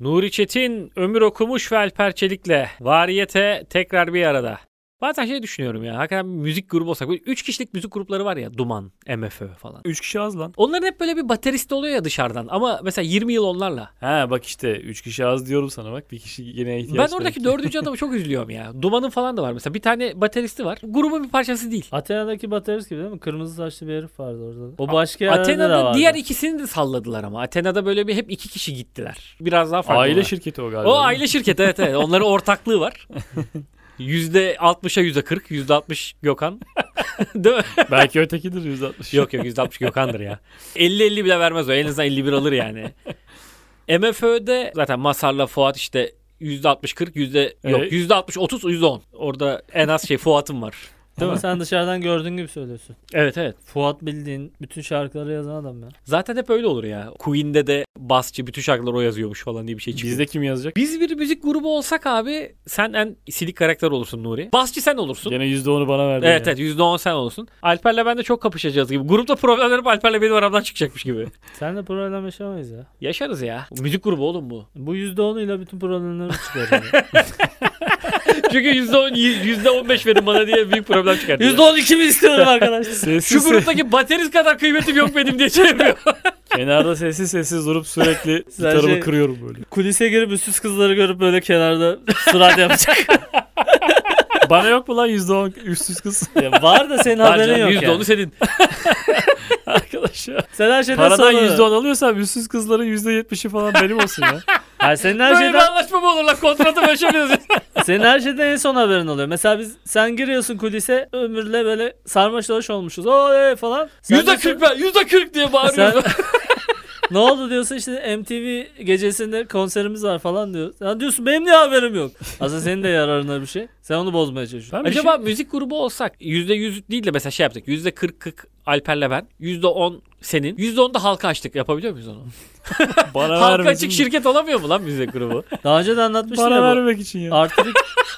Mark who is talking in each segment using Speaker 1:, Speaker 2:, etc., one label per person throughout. Speaker 1: Nuri Çetin, Ömür Okumuş ve Alper Çelik'le Variyete tekrar bir arada. Bazen şey düşünüyorum ya. Hakikaten bir müzik grubu olsak. Böyle 3 kişilik müzik grupları var ya. Duman, MFÖ falan.
Speaker 2: Üç kişi az lan.
Speaker 1: Onların hep böyle bir baterist oluyor ya dışarıdan. Ama mesela 20 yıl onlarla.
Speaker 2: Ha bak işte üç kişi az diyorum sana bak. Bir kişi gene ihtiyaç
Speaker 1: ben oradaki
Speaker 2: belki.
Speaker 1: dördüncü adamı çok üzülüyorum ya. Duman'ın falan da var mesela. Bir tane bateristi var. Grubun bir parçası değil.
Speaker 3: Atina'daki baterist gibi değil mi? Kırmızı saçlı bir herif vardı orada da. O başka yerde de
Speaker 1: Athena'da
Speaker 3: vardı.
Speaker 1: diğer ikisini de salladılar ama. Athena'da böyle bir hep iki kişi gittiler. Biraz daha farklı.
Speaker 2: Aile
Speaker 1: olan.
Speaker 2: şirketi o galiba.
Speaker 1: O
Speaker 2: değil mi?
Speaker 1: aile şirketi evet evet. Onların ortaklığı var. %60'a %40, %60 Gökhan. Değil mi?
Speaker 2: Belki ötekidir 160.
Speaker 1: Yok yok %60 Gökhan'dır ya. 50-50 bile vermez o. En azından 51 alır yani. MFÖ'de zaten Masar'la Fuat işte %60-40, yüzde yok
Speaker 2: Evet.
Speaker 1: %60-30, %10. Orada en az şey Fuat'ım var.
Speaker 3: Ama sen dışarıdan gördüğün gibi söylüyorsun.
Speaker 1: Evet evet.
Speaker 3: Fuat bildiğin bütün şarkıları yazan adam ya.
Speaker 1: Zaten hep öyle olur ya. Queen'de de basçı bütün şarkıları o yazıyormuş falan diye bir şey çıkıyor.
Speaker 2: Bizde kim yazacak?
Speaker 1: Biz bir müzik grubu olsak abi sen en silik karakter olursun Nuri. Basçı sen olursun.
Speaker 2: Gene %10'u bana verdin.
Speaker 1: Evet
Speaker 2: ya.
Speaker 1: evet %10 sen olursun. Alper'le ben de çok kapışacağız gibi. Grupta problemlerim Alper'le benim aramdan çıkacakmış gibi.
Speaker 3: Sen de problem yaşamayız ya.
Speaker 1: Yaşarız ya. Müzik grubu oğlum bu.
Speaker 3: Bu %10'uyla bütün problemleri çıkarıyor. ya.
Speaker 1: Çünkü %10, %15 verin bana diye büyük problem çıkardı.
Speaker 3: %12 mi istiyorum arkadaşlar?
Speaker 1: Şu
Speaker 2: Sessiz,
Speaker 1: gruptaki baterist kadar kıymetim yok benim diye şey yapıyor.
Speaker 2: kenarda sessiz sessiz durup sürekli
Speaker 3: Sen
Speaker 2: gitarımı
Speaker 3: şey-
Speaker 2: kırıyorum böyle.
Speaker 3: Kulise girip üstsüz kızları görüp böyle kenarda sırat yapacak.
Speaker 2: Bana yok mu lan %10 üstsüz kız?
Speaker 3: Ya var da senin
Speaker 1: Var
Speaker 3: haberin
Speaker 1: canım,
Speaker 3: yok
Speaker 1: %10'u
Speaker 3: yani.
Speaker 1: senin.
Speaker 2: Arkadaş ya.
Speaker 3: Sen her şeyden
Speaker 2: Paradan
Speaker 3: sorumlu.
Speaker 2: %10 alıyorsam üstsüz kızların %70'i falan benim olsun ya.
Speaker 3: Hayır, senin her
Speaker 1: Böyle bir
Speaker 3: şeyden,
Speaker 1: anlaşma mı olur lan? Kontratı başarıyoruz.
Speaker 3: senin her şeyden en son haberin oluyor. Mesela biz sen giriyorsun kulise ömürle böyle sarmaş dolaş olmuşuz. Oley falan. Sen de-
Speaker 1: %40 ben, %40 diye bağırıyoruz.
Speaker 3: Sen... ne oldu diyorsun işte MTV gecesinde konserimiz var falan diyor. Sen diyorsun benim niye haberim yok. Aslında senin de yararına bir şey. Sen onu bozmaya çalışıyorsun.
Speaker 2: Ben bir
Speaker 1: Acaba müzik grubu olsak %100 değil de mesela şey yaptık. %40-40 Alper'le ben. %10 senin. %10 da halka açtık. Yapabiliyor muyuz onu?
Speaker 2: şey- bana
Speaker 1: halka
Speaker 2: vermesin
Speaker 1: açık
Speaker 2: mi?
Speaker 1: şirket olamıyor mu lan müzik grubu?
Speaker 3: Daha önce de anlatmıştım
Speaker 2: Bana
Speaker 3: ya bu.
Speaker 2: vermek için ya.
Speaker 3: Artık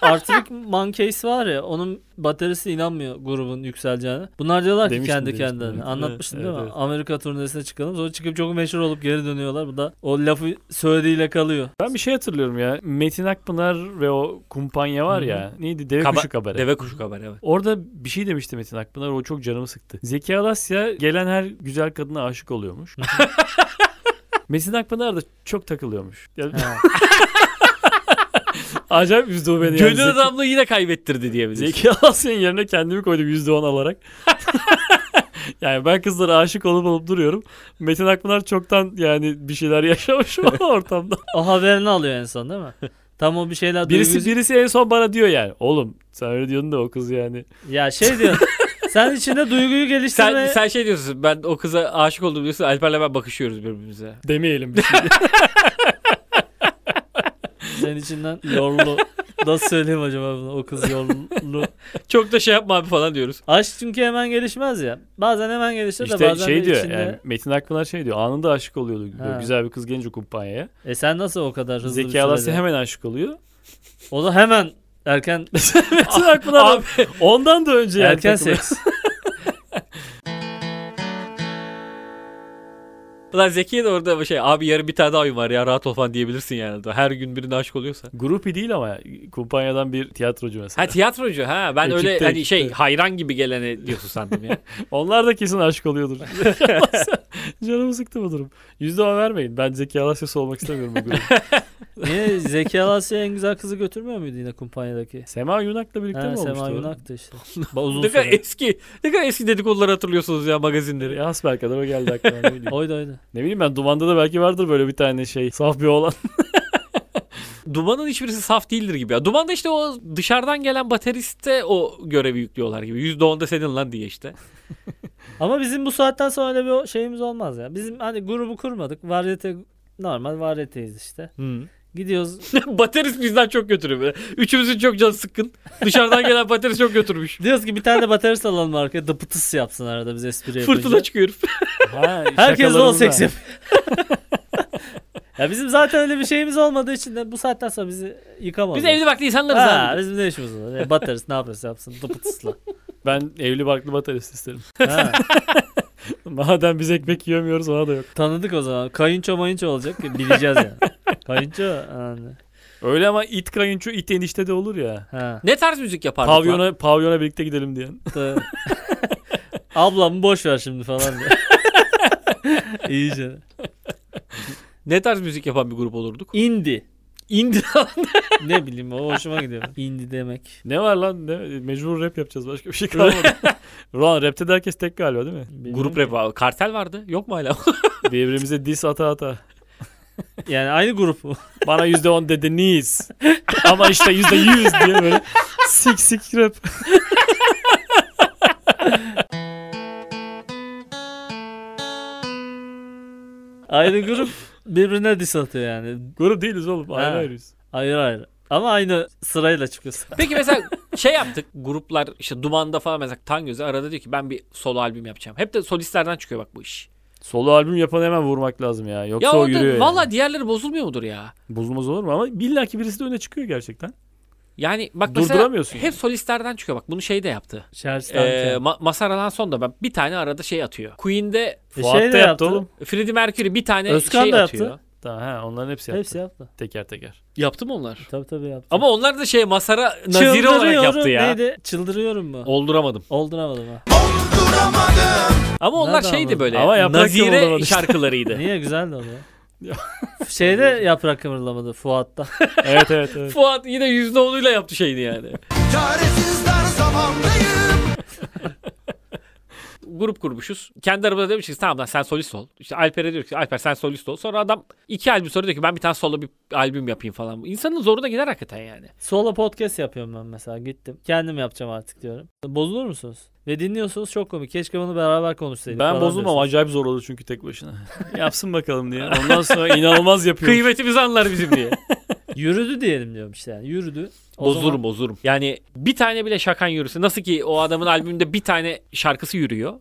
Speaker 3: Artık Monkeys var ya onun bataryası inanmıyor grubun yükseleceğine. Bunlar diyorlar ki
Speaker 2: Demiştim,
Speaker 3: kendi
Speaker 2: demiştim,
Speaker 3: kendilerine.
Speaker 2: evet.
Speaker 3: Anlatmıştım
Speaker 2: Evet,
Speaker 3: değil mi?
Speaker 2: evet,
Speaker 3: Amerika turnesine çıkalım. Sonra çıkıp çok meşhur olup geri dönüyorlar. Bu da o lafı söylediğiyle kalıyor.
Speaker 2: Ben bir şey hatırlıyorum ya. Metin Akpınar ve o kumpanya var ya. Neydi? Deve
Speaker 1: Kaba-
Speaker 2: Kuşu Kabare.
Speaker 1: Deve kuşu kabar evet.
Speaker 2: Orada bir şey demişti Metin Akpınar. O çok canımı sıktı. Zeki Alasya gelen her güzel kadına aşık oluyormuş. Metin Akpınar da çok takılıyormuş. Yani
Speaker 3: Ha.
Speaker 2: acayip yüzde o beni. yani.
Speaker 1: Gönül
Speaker 2: Zeki-
Speaker 1: adamlığı yine kaybettirdi diyebiliriz.
Speaker 2: Zeki Alasya'nın yerine kendimi koydum yüzde on alarak. yani ben kızlara aşık olup olup duruyorum. Metin Akpınar çoktan yani bir şeyler yaşamış o ortamda.
Speaker 3: o haberini alıyor en son değil mi? Tam o bir şeyler
Speaker 2: birisi
Speaker 3: duygusu-
Speaker 2: birisi en son bana diyor yani. Oğlum sen öyle diyordun da o kız yani.
Speaker 3: Ya şey diyor. sen içinde duyguyu
Speaker 1: Sen,
Speaker 3: geliştirme.
Speaker 1: sen şey diyorsun ben o kıza aşık oldum diyorsun Alper'le ben bakışıyoruz birbirimize.
Speaker 2: Demeyelim bir şey.
Speaker 3: Senin içinden yorulu. Nasıl söyleyeyim acaba bunu? O kız yorulu.
Speaker 1: Çok da şey yapma abi falan diyoruz.
Speaker 3: Aşk çünkü hemen gelişmez ya. Bazen hemen gelişir de
Speaker 2: işte
Speaker 3: bazen
Speaker 2: şey
Speaker 3: de
Speaker 2: diyor
Speaker 3: içinde.
Speaker 2: yani Metin Akpınar şey diyor anında aşık oluyordu. diyor.
Speaker 3: Ha.
Speaker 2: Güzel bir kız gelince kumpanyaya.
Speaker 3: E sen nasıl o kadar hızlı bir
Speaker 2: Zeki
Speaker 3: sürede-
Speaker 2: Alasya hemen aşık oluyor.
Speaker 3: O da hemen erken
Speaker 2: Metin Akpınar
Speaker 1: Abi,
Speaker 2: ondan da önce yani
Speaker 3: erken
Speaker 2: takılıyor.
Speaker 3: seks.
Speaker 1: ulan Zeki'ye de orada şey abi yarın bir tane daha oyun var ya rahat ol falan diyebilirsin yani. Her gün birine aşık oluyorsa.
Speaker 2: Grupi değil ama kumpanyadan bir tiyatrocu mesela.
Speaker 1: Ha tiyatrocu ha ben
Speaker 2: Ekipte,
Speaker 1: öyle hani şey
Speaker 2: ekipte.
Speaker 1: hayran gibi gelene diyorsun sandım ya.
Speaker 2: Onlar da kesin aşık oluyordur. Canımı sıktı bu durum. Yüzde on vermeyin. Ben Zeki Alasya'sı olmak istemiyorum bu grup.
Speaker 3: Niye Zeki Alasya en güzel kızı götürmüyor muydu yine kumpanyadaki?
Speaker 2: Sema Yunak'la birlikte
Speaker 3: Ha,
Speaker 2: mi olmuştu?
Speaker 3: Sema
Speaker 2: o?
Speaker 3: Yunak'tı işte. Ba- Uzun
Speaker 1: ne kadar
Speaker 3: süre.
Speaker 1: eski ne kadar eski dedikoduları hatırlıyorsunuz ya magazinleri.
Speaker 2: Ya Asbel kadar Ah, o geldi aklıma. Ne bileyim.
Speaker 3: Oydu oydu.
Speaker 2: ne bileyim ben Duman'da da belki vardır böyle bir tane şey. Saf bir oğlan.
Speaker 1: Duman'ın hiçbirisi saf değildir gibi. Ya. Duman'da işte o dışarıdan gelen bateriste o görevi yüklüyorlar gibi. %10'da senin lan diye işte.
Speaker 3: Ama bizim bu saatten sonra öyle bir o- şeyimiz olmaz ya. Bizim hani grubu kurmadık. Varyete normal varyeteyiz işte. Gidiyoruz.
Speaker 1: baterist bizden çok götürüyor. böyle. Üçümüzün çok canı sıkkın. Dışarıdan gelen baterist çok götürmüş.
Speaker 3: Diyoruz ki bir tane de baterist alalım arkaya. Dıpıtıs yapsın arada biz espri yapınca.
Speaker 1: Fırtına çıkıyor. herif.
Speaker 2: Ha,
Speaker 3: Herkes
Speaker 2: şakalarımız
Speaker 3: bol
Speaker 2: da.
Speaker 3: seks yapıyor. ya bizim zaten öyle bir şeyimiz olmadığı için de bu saatten sonra bizi yıkamazlar.
Speaker 1: Biz evli vakti insanlarız
Speaker 3: Ha,
Speaker 1: abi.
Speaker 3: bizim ne işimiz var? E, batarız ne yaparız yapsın dıpıtısla.
Speaker 2: Ben evli barklı baterist isterim.
Speaker 3: Ha,
Speaker 2: Madem biz ekmek yiyemiyoruz ona da yok.
Speaker 3: tanıdık o zaman. Kayınço mayınço olacak ki bileceğiz yani. Kayınço. yani.
Speaker 2: Öyle ama it kayınço it enişte de olur ya.
Speaker 3: Ha.
Speaker 1: Ne tarz müzik yapardık? lan?
Speaker 2: Pavyona, pavyona birlikte gidelim diyen.
Speaker 3: Tabii. Ablam boş ver şimdi falan diye. İyice.
Speaker 1: Ne tarz müzik yapan bir grup olurduk?
Speaker 3: Indie.
Speaker 1: Indie.
Speaker 3: Ne bileyim o hoşuma gidiyor. Indie demek.
Speaker 2: Ne var lan? Ne? Mecbur rap yapacağız. Başka bir şey kalmadı. Ulan rapte de herkes tek galiba değil mi?
Speaker 3: Bilmiyorum
Speaker 1: grup
Speaker 3: ki.
Speaker 1: rap abi. Kartel vardı. Yok mu hala?
Speaker 2: Birbirimize diss ata ata.
Speaker 3: Yani aynı grup mu?
Speaker 2: Bana %10 dediniz. Ama işte %100 diye böyle sik sik rap.
Speaker 3: aynı grup birbirine diss atıyor yani.
Speaker 2: Grup değiliz oğlum. Ayrı
Speaker 3: Ha.
Speaker 2: ayrıyız.
Speaker 3: Ayrı ayrı. Ama aynı sırayla çıkıyorsun.
Speaker 1: Peki mesela şey yaptık. Gruplar işte Duman'da falan mesela Tangöz'e arada diyor ki ben bir solo albüm yapacağım. Hep de solistlerden çıkıyor bak bu iş.
Speaker 2: Solo albüm yapanı hemen vurmak lazım ya. Yoksa
Speaker 1: ya
Speaker 2: o
Speaker 1: orada
Speaker 2: yürüyor.
Speaker 1: valla
Speaker 2: yani.
Speaker 1: diğerleri bozulmuyor mudur ya?
Speaker 2: Bozulmaz olur mu? Ama illa ki birisi de öne çıkıyor gerçekten.
Speaker 1: Yani bak
Speaker 2: Durduramıyorsun
Speaker 1: mesela hep solistlerden çıkıyor bak bunu şey de yaptı.
Speaker 3: Şarj
Speaker 1: Ee, Ma- Masaralan son da ben bir tane arada şey atıyor. Queen'de
Speaker 3: E,
Speaker 2: Fuat da yaptı oğlum.
Speaker 1: Freddie Mercury bir tane
Speaker 3: Özkan
Speaker 1: şey
Speaker 3: da yaptı.
Speaker 1: atıyor.
Speaker 2: Tamam ha onların hepsi yaptı.
Speaker 3: Hepsi yaptı.
Speaker 2: Teker teker.
Speaker 1: Yaptı mı onlar?
Speaker 3: Tabii tabii yaptı.
Speaker 1: Ama onlar da şey Masara nazire olarak
Speaker 3: Çıldırıyorum
Speaker 1: yaptı ya.
Speaker 3: Neydi? Çıldırıyorum mu?
Speaker 1: Olduramadım.
Speaker 3: Olduramadım ha.
Speaker 1: Ama onlar
Speaker 3: Nereden
Speaker 1: şeydi
Speaker 3: anladın?
Speaker 1: böyle
Speaker 2: Ama yaprak
Speaker 1: nazire
Speaker 2: yollamadı işte.
Speaker 1: şarkılarıydı.
Speaker 3: Niye güzeldi o ya?
Speaker 2: Ya.
Speaker 3: Şeyde yaprak kımırlamadı Fuat'ta.
Speaker 2: evet evet evet.
Speaker 1: Fuat yine yüzde onuyla yaptı şeyini yani.
Speaker 4: Çaresizler zamandayım
Speaker 1: grup kurmuşuz. Kendi aramızda demişiz tamam lan sen solist ol. İşte Alper'e diyor ki Alper sen solist ol. Sonra adam iki albüm sonra diyor ki ben bir tane solo bir albüm yapayım falan. İnsanın zoruna gider hakikaten yani.
Speaker 3: Solo podcast yapıyorum ben mesela gittim. Kendim yapacağım artık diyorum. Bozulur musunuz? Ve dinliyorsunuz çok komik. Keşke bunu beraber konuşsaydık.
Speaker 2: Ben
Speaker 3: falan
Speaker 2: bozulmam
Speaker 3: diyorsunuz.
Speaker 2: acayip zor olur çünkü tek başına. Yapsın bakalım diye. Ondan sonra inanılmaz yapıyor.
Speaker 1: Kıymetimizi anlar bizim diye.
Speaker 3: Yürüdü diyelim diyorum işte yani. Yürüdü. O
Speaker 1: bozurum
Speaker 3: zaman
Speaker 1: bozurum. Yani bir tane bile şakan yürüsün. Nasıl ki o adamın albümünde bir tane şarkısı yürüyor.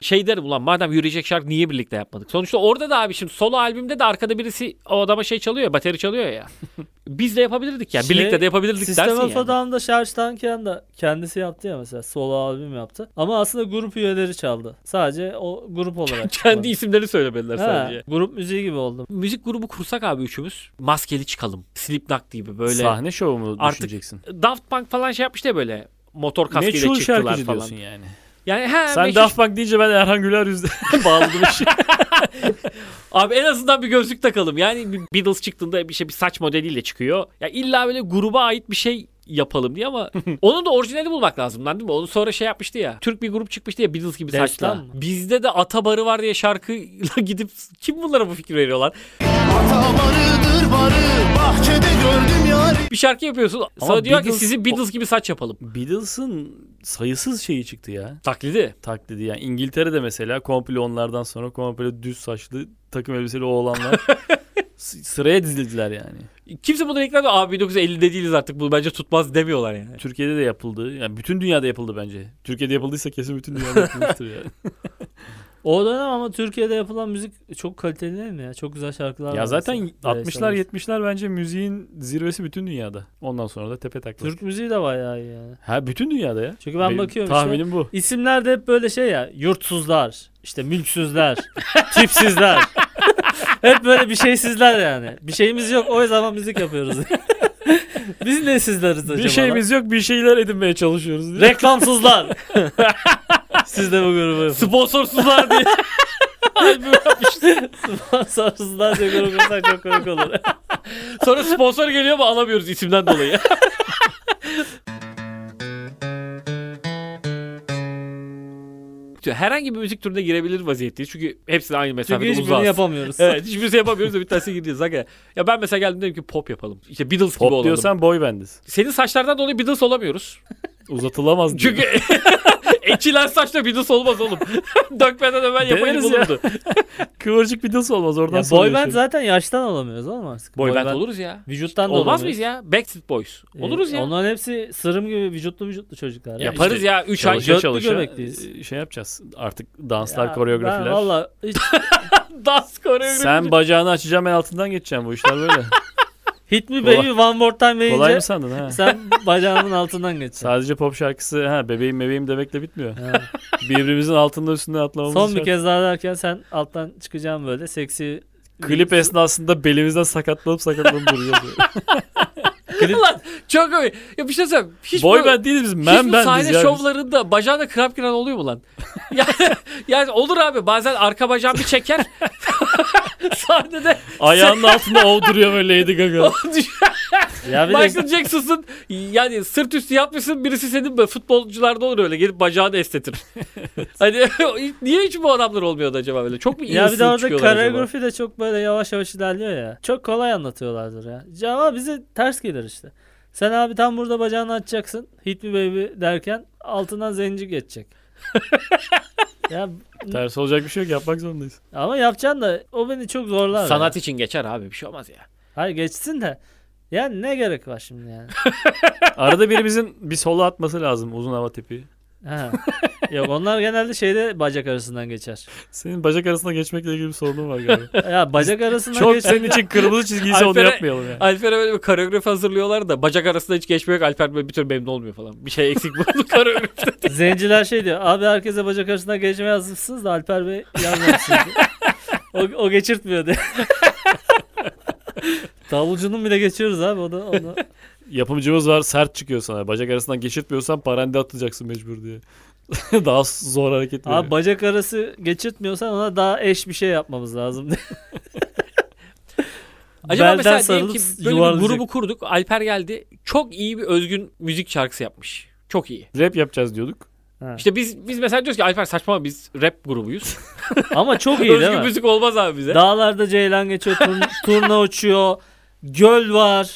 Speaker 1: şey derim ulan madem yürüyecek şarkı niye birlikte yapmadık? Sonuçta orada da abi şimdi solo albümde de arkada birisi o adama şey çalıyor ya bateri çalıyor ya. Biz de yapabilirdik yani.
Speaker 3: Şey,
Speaker 1: birlikte de yapabilirdik dersin
Speaker 3: System
Speaker 1: yani.
Speaker 3: of a Down'da Serj Tankian da kendisi yaptı ya mesela solo albüm yaptı. Ama aslında grup üyeleri çaldı. Sadece o grup olarak.
Speaker 1: Kendi isimlerini söylemediler
Speaker 3: Ha,
Speaker 1: sadece.
Speaker 3: Grup müziği gibi oldu.
Speaker 1: müzik grubu kursak abi üçümüz. Maskeli çıkalım. Slipknot gibi böyle.
Speaker 2: Sahne şovu mu
Speaker 1: Artık
Speaker 2: düşüneceksin?
Speaker 1: Daft Punk falan şey yapmış da böyle. Motor kaskıyla
Speaker 2: Meçhul
Speaker 1: çıktılar
Speaker 2: şarkıcı
Speaker 1: falan.
Speaker 2: diyorsun yani.
Speaker 1: Yani he,
Speaker 2: Sen
Speaker 1: meşhur-
Speaker 2: Daft Punk deyince ben Erhan Güler yüzde bağladım işi.
Speaker 1: Abi en azından bir gözlük takalım. Yani bir Beatles çıktığında bir şey bir saç modeliyle çıkıyor. Ya illa böyle gruba ait bir şey yapalım diye ama onun da orijinali bulmak lazım lan değil mi? Onu sonra şey yapmıştı ya. Türk bir grup çıkmıştı ya Beatles gibi
Speaker 3: Destan
Speaker 1: saçla.
Speaker 3: mı?
Speaker 1: Bizde de Atabarı var diye şarkıyla gidip kim bunlara bu fikri veriyor lan?
Speaker 4: Ata barıdır barı Bahçede gördüm yarı
Speaker 1: Bir şarkı yapıyorsun. Sana diyor ki
Speaker 2: Beatles-
Speaker 1: sizi Beatles gibi saç yapalım.
Speaker 2: Beatles'ın sayısız şeyi çıktı ya.
Speaker 1: Taklidi.
Speaker 2: Taklidi yani. İngiltere'de mesela komple onlardan sonra komple düz saçlı takım elbiseli oğlanlar s- sıraya dizildiler yani.
Speaker 1: Kimse bunu reklamda abi 1950'de değiliz artık bu bence tutmaz demiyorlar yani.
Speaker 2: Türkiye'de de yapıldı. Yani bütün dünyada yapıldı bence. Türkiye'de yapıldıysa kesin bütün dünyada yapılmıştır yani.
Speaker 3: O dönem ama Türkiye'de yapılan müzik çok kaliteli değil mi ya? Çok güzel şarkılar var.
Speaker 2: ya zaten
Speaker 3: mesela.
Speaker 2: 60'lar 70'ler bence müziğin zirvesi bütün dünyada. Ondan sonra da tepe taklak.
Speaker 3: Türk müziği de bayağı iyi yani.
Speaker 2: Ha bütün dünyada ya.
Speaker 3: Çünkü ben
Speaker 2: Benim
Speaker 3: bakıyorum işte.
Speaker 2: tahminim bu.
Speaker 3: İsimler de hep böyle şey ya. Yurtsuzlar, işte mülksüzler, tipsizler. hep böyle bir şeysizler yani. Bir şeyimiz yok o zaman müzik yapıyoruz. Biz ne sizleriz acaba?
Speaker 2: Bir
Speaker 3: lan?
Speaker 2: şeyimiz yok bir şeyler edinmeye çalışıyoruz. diye.
Speaker 3: Reklamsızlar. Siz de bu grubu yapın.
Speaker 1: Sponsorsuzlar diye.
Speaker 3: Sponsorsuzlar diye grup yapsak çok komik olur.
Speaker 1: Sonra sponsor geliyor ama alamıyoruz isimden dolayı. Herhangi bir müzik türüne girebilir vaziyetteyiz. Çünkü hepsine aynı
Speaker 3: Çünkü
Speaker 1: mesafede
Speaker 3: hiçbirini
Speaker 1: uzağız.
Speaker 3: yapamıyoruz.
Speaker 1: Evet hiçbirisi yapamıyoruz da bir tanesine gireceğiz. Aga. Ya ben mesela geldim dedim ki pop yapalım. İşte Beatles gibi
Speaker 2: Pop
Speaker 1: olalım.
Speaker 2: diyorsan boy bendiz.
Speaker 1: Senin saçlardan dolayı Beatles olamıyoruz.
Speaker 2: Uzatılamaz diye.
Speaker 1: Çünkü ekilen saçla Beatles olmaz oğlum. Dökmeden hemen yapayım
Speaker 2: Deneriz ya.
Speaker 1: olurdu.
Speaker 2: Kıvırcık bir nasıl olmaz oradan
Speaker 3: Ya
Speaker 2: sonra.
Speaker 3: boy band
Speaker 2: yaşıyor.
Speaker 3: zaten yaştan olamıyoruz oğlum artık.
Speaker 1: Boy band
Speaker 3: band-
Speaker 1: oluruz ya.
Speaker 3: Vücuttan da
Speaker 1: Olmaz
Speaker 3: olamıyoruz.
Speaker 1: mıyız ya? Backstreet Boys.
Speaker 3: Ee,
Speaker 1: Oluruz ya.
Speaker 3: Onların hepsi sırım gibi vücutlu vücutlu çocuklar. ya.
Speaker 1: Yaparız
Speaker 2: işte
Speaker 1: ya. 3 ay
Speaker 3: çalışıyor.
Speaker 2: Çalışa
Speaker 3: Götlü
Speaker 2: çalışa
Speaker 3: göbekliyiz.
Speaker 2: e, şey yapacağız. Artık danslar,
Speaker 3: Ya
Speaker 2: koreografiler.
Speaker 3: Ben valla hiç
Speaker 1: dans koreografi.
Speaker 2: Sen bacağını açacağım ben altından geçeceğim bu işler böyle.
Speaker 3: Hit me
Speaker 2: Kolay-
Speaker 3: baby one more time
Speaker 2: Kolay
Speaker 3: deyince
Speaker 2: mı sandın ha?
Speaker 3: sen bacağımın altından geçsin.
Speaker 2: Sadece pop şarkısı ha bebeğim bebeğim demekle bitmiyor. Birbirimizin altında üstünde atlamamız
Speaker 3: Son bir
Speaker 2: şart.
Speaker 3: kez daha derken sen alttan çıkacağım böyle seksi
Speaker 2: Klip esnasında belimizden sakatlanıp sakatlanıp duruyor.
Speaker 1: Ulan çok öyle. Ya bir şey söyleyeyim. Hiç
Speaker 2: Boy
Speaker 1: böyle-
Speaker 2: band değiliz biz.
Speaker 1: hiç
Speaker 2: Men
Speaker 1: bu
Speaker 2: bendiz
Speaker 1: sahne
Speaker 2: ya. biz.
Speaker 1: şovlarında bacağına kramp giren oluyor mu lan? yani, yani olur abi bazen arka bacağım bir çeker. Sahnede
Speaker 2: Ayağının altında ov duruyor böyle Lady Gaga.
Speaker 3: Ya bir de-
Speaker 1: Michael Jackson'sın yani sırt üstü yapmışsın birisi senin böyle futbolcularda olur öyle gelip bacağını estetir. hani niye hiç bu adamlar olmuyordu acaba böyle? Çok mu iyi
Speaker 3: Ya bir de
Speaker 1: ısınıp
Speaker 3: orada
Speaker 1: çıkıyorlar acaba?
Speaker 3: koreografi de çok böyle yavaş yavaş ilerliyor ya. Çok kolay anlatıyorlardır ya. Cama bize ters gelir işte. Sen abi tam burada bacağını açacaksın. Hit me baby derken altından zenci geçecek. ya
Speaker 2: Ters olacak bir şey yok yapmak zorundayız.
Speaker 3: ama yapacaksın da o beni çok zorlar.
Speaker 1: Sanat
Speaker 3: Ya.
Speaker 1: için geçer abi bir şey olmaz ya.
Speaker 3: Hayır geçsin de. Yani ne gerek var şimdi yani?
Speaker 2: Arada birimizin bir solo atması lazım uzun hava tipi.
Speaker 3: Ha. Yok onlar genelde şeyde bacak arasından geçer.
Speaker 2: Senin bacak arasında geçmekle ilgili bir sorunun var galiba.
Speaker 3: Ya bacak arasından
Speaker 2: Çok
Speaker 3: geçer.
Speaker 2: senin için kırmızı çizgiyse onu
Speaker 1: Alper'e-
Speaker 2: yapmayalım yani.
Speaker 1: Alper'e böyle bir koreografi hazırlıyorlar da bacak arasında hiç geçmiyor. Alper böyle bir tür memnun olmuyor falan. Bir şey eksik buldu koreografide.
Speaker 3: Zenciler şey diyor. Abi herkese bacak arasından geçmeye yazmışsınız da Alper Bey yazmamışsınız. o, o geçirtmiyor diye. Davulcunun bile geçiyoruz abi onu. onu.
Speaker 2: Yapımcımız var sert çıkıyor sana. Bacak arasından geçirtmiyorsan parande atacaksın mecbur diye. Daha zor hareket veriyor.
Speaker 3: Abi bacak arası geçirtmiyorsan ona daha eş bir şey yapmamız lazım diye.
Speaker 1: Acaba
Speaker 3: Belden
Speaker 1: mesela diyelim
Speaker 3: sarılıp
Speaker 1: ki böyle bir
Speaker 3: yuvarlayacak.
Speaker 1: grubu kurduk. Alper geldi. Çok iyi bir özgün müzik şarkısı yapmış. Çok iyi.
Speaker 2: Rap yapacağız diyorduk.
Speaker 1: İşte biz biz mesela diyoruz ki Alper saçmalama biz rap grubuyuz.
Speaker 3: Ama çok iyi değil
Speaker 1: Özgün
Speaker 3: mi?
Speaker 1: müzik olmaz abi bize.
Speaker 3: Dağlarda ceylan geçiyor, turn- turna uçuyor, göl var,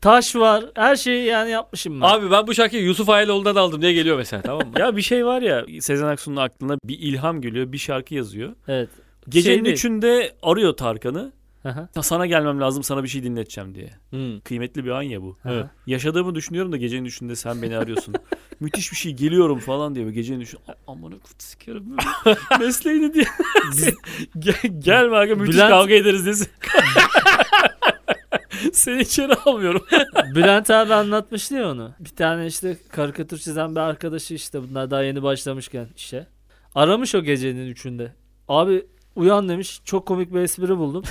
Speaker 3: taş var. Her şeyi yani yapmışım ben.
Speaker 1: Abi ben bu şarkıyı Yusuf Ayaloğlu'ndan aldım diye geliyor mesela tamam mı?
Speaker 2: Ya bir şey var ya Sezen Aksu'nun aklına bir ilham geliyor bir şarkı yazıyor.
Speaker 3: Evet.
Speaker 2: Gecenin
Speaker 3: Şey değil.
Speaker 2: üçünde arıyor Tarkan'ı.
Speaker 3: Aha.
Speaker 2: "Ya Sana gelmem lazım sana bir şey dinleteceğim diye.
Speaker 1: Hmm.
Speaker 2: Kıymetli bir an ya bu.
Speaker 1: Evet.
Speaker 2: Yaşadığımı düşünüyorum da gecenin üçünde sen beni arıyorsun. Müthiş bir şey geliyorum falan diye. böyle Gecenin üçün "A- amına kut sikerim. Mesleğini diye. Gel, gelme aga müthiş
Speaker 3: Bülent-
Speaker 2: kavga ederiz desin. Seni içeri almıyorum.
Speaker 3: Bülent abi anlatmıştı ya onu. Bir tane işte karikatür çizen bir arkadaşı işte bunlar daha yeni başlamışken işe. Aramış o gecenin üçünde. Abi uyan demiş çok komik bir espri buldum.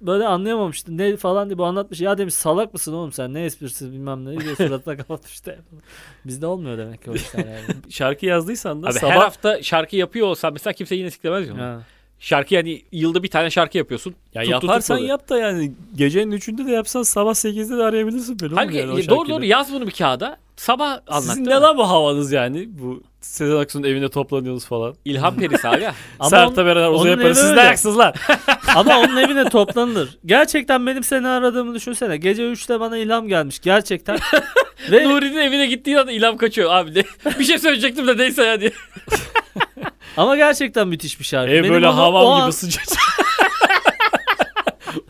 Speaker 3: Böyle anlayamamıştı ne falan diye bu anlatmış. Ya demiş salak mısın oğlum sen ne esprisi bilmem ne diye suratına kapatmış telefonu. Bizde olmuyor demek ki o işler yani.
Speaker 2: Şarkı yazdıysan da
Speaker 1: Abi
Speaker 2: sabah
Speaker 1: her hafta şarkı yapıyor olsa mesela kimse yine siklemez ya. onu.
Speaker 3: Ha.
Speaker 1: Şarkı yani hani yılda bir tane şarkı yapıyorsun.
Speaker 2: Ya
Speaker 1: Tut, tut,
Speaker 2: yaparsan
Speaker 1: tutmadı.
Speaker 2: yap da yani gecenin üçünde de yapsan sabah 8'de de arayabilirsin beni. oğlum
Speaker 1: Halbuki
Speaker 2: yani o
Speaker 1: doğru
Speaker 2: şarkıyla.
Speaker 1: doğru yaz bunu bir kağıda. Sabah anlat.
Speaker 2: Sizin
Speaker 1: değil
Speaker 2: ne
Speaker 1: mi?
Speaker 2: lan bu havanız yani? Bu Sezen Aksu'nun evinde toplanıyorsunuz falan.
Speaker 1: İlham perisi abi. ya.
Speaker 3: Ama
Speaker 2: Sertab
Speaker 3: onun-
Speaker 2: Erener
Speaker 3: onun
Speaker 2: uzay yaparız.
Speaker 3: evi
Speaker 2: Siz
Speaker 3: öyle.
Speaker 2: de ayaksınız lan.
Speaker 3: Ama onun evine toplanılır. Gerçekten benim seni aradığımı düşünsene. Gece 3'te bana ilham gelmiş gerçekten. Ve
Speaker 1: Nuri'nin evine gittiği anda ilham kaçıyor abi. ne- bir şey söyleyecektim de neyse ya diye.
Speaker 3: Ama gerçekten müthiş bir şarkı.
Speaker 2: Ev
Speaker 3: Benim
Speaker 2: böyle
Speaker 3: onu o
Speaker 2: havam
Speaker 3: an-
Speaker 2: gibi sıcak.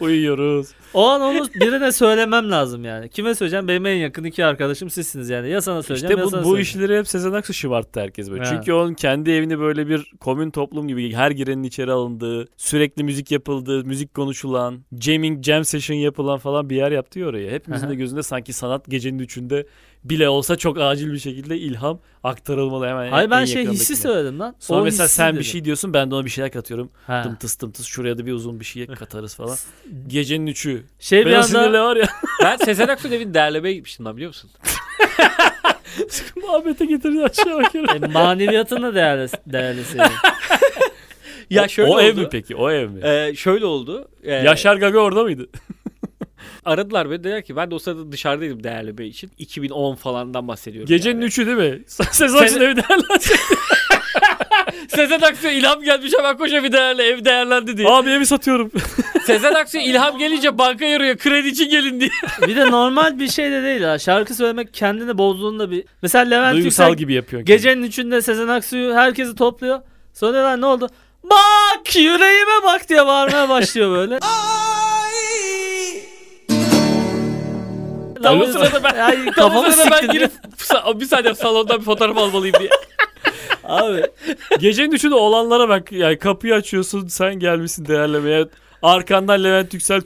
Speaker 2: Uyuyoruz.
Speaker 3: O an onu birine söylemem lazım yani. Kime söyleyeceğim? Benim en yakın iki arkadaşım sizsiniz yani. Ya sana söyleyeceğim
Speaker 2: İşte
Speaker 3: ya
Speaker 2: bu,
Speaker 3: sana
Speaker 2: bu
Speaker 3: söyleyeceğim.
Speaker 2: işleri hep Sezen Aksu şımarttı herkes böyle.
Speaker 3: Ha.
Speaker 2: Çünkü onun kendi evini böyle bir komün toplum gibi her girenin içeri alındığı, sürekli müzik yapıldığı, müzik konuşulan, jamming, jam session yapılan falan bir yer yaptı ya oraya. Hepimizin
Speaker 3: Aha.
Speaker 2: de gözünde sanki sanat gecenin üçünde bile olsa çok acil bir şekilde ilham aktarılmalı hemen.
Speaker 3: Hayır ben
Speaker 2: en
Speaker 3: şey
Speaker 2: yakınındakine.
Speaker 3: hissi söyledim lan.
Speaker 2: Sonra
Speaker 3: O
Speaker 2: mesela
Speaker 3: hissi
Speaker 2: sen bir
Speaker 3: dedim.
Speaker 2: şey diyorsun ben de ona bir şeyler katıyorum.
Speaker 3: Ha.
Speaker 2: Tım tıs tım tıs şuraya da bir uzun bir şey katarız falan. Gecenin üçü.
Speaker 3: Şey bir
Speaker 2: Ben o sinirle
Speaker 3: anda
Speaker 2: var ya
Speaker 1: Ben Sezen Aksu'nun evini derlemeye gitmiştim lan biliyor musun?
Speaker 2: muhabbete getirdi aşağı bakıyorum.
Speaker 3: e, maneviyatını değerli, değerli
Speaker 1: Ya şöyle
Speaker 2: o
Speaker 1: oldu.
Speaker 2: ev mi peki o ev mi?
Speaker 1: Ee, şöyle oldu. Ee,
Speaker 2: Yaşar Gaga orada mıydı?
Speaker 1: Aradılar beni dediler ki ben de o sırada dışarıdaydım değerli bey için. 2010 falandan bahsediyorum.
Speaker 2: Gecenin
Speaker 1: yani.
Speaker 2: üçü değil mi? Sezen Aksu'nun evi değerlendi.
Speaker 1: Sezen Aksu'ya ilham gelmiş hemen koş evi değerli ev değerlendi diye.
Speaker 2: Abi evi satıyorum.
Speaker 1: Sezen Aksu'ya ilham gelince banka yarıyor kredi için gelin diye.
Speaker 3: bir de normal bir şey de değil ha. Şarkı söylemek kendini bozduğunda bir... Mesela Levent Yüksel
Speaker 2: Duygusal gibi şey. yapıyorsun.
Speaker 3: gecenin üçünde Sezen Aksu'yu herkesi topluyor. Sonra diyorlar ne oldu? Bak yüreğime bak diye bağırmaya başlıyor böyle. Lan
Speaker 1: Tam o
Speaker 3: biz-
Speaker 1: sırada ben,
Speaker 3: Ay,
Speaker 1: tam o
Speaker 3: kafamı
Speaker 1: sırada ben
Speaker 3: siktin.
Speaker 1: girip sa- bir saniye salondan bir fotoğraf almalıyım diye.
Speaker 3: Abi
Speaker 2: Gecenin üçü de olanlara bak. Yani kapıyı açıyorsun sen gelmişsin değerlemeye. Arkandan Levent Yüksel.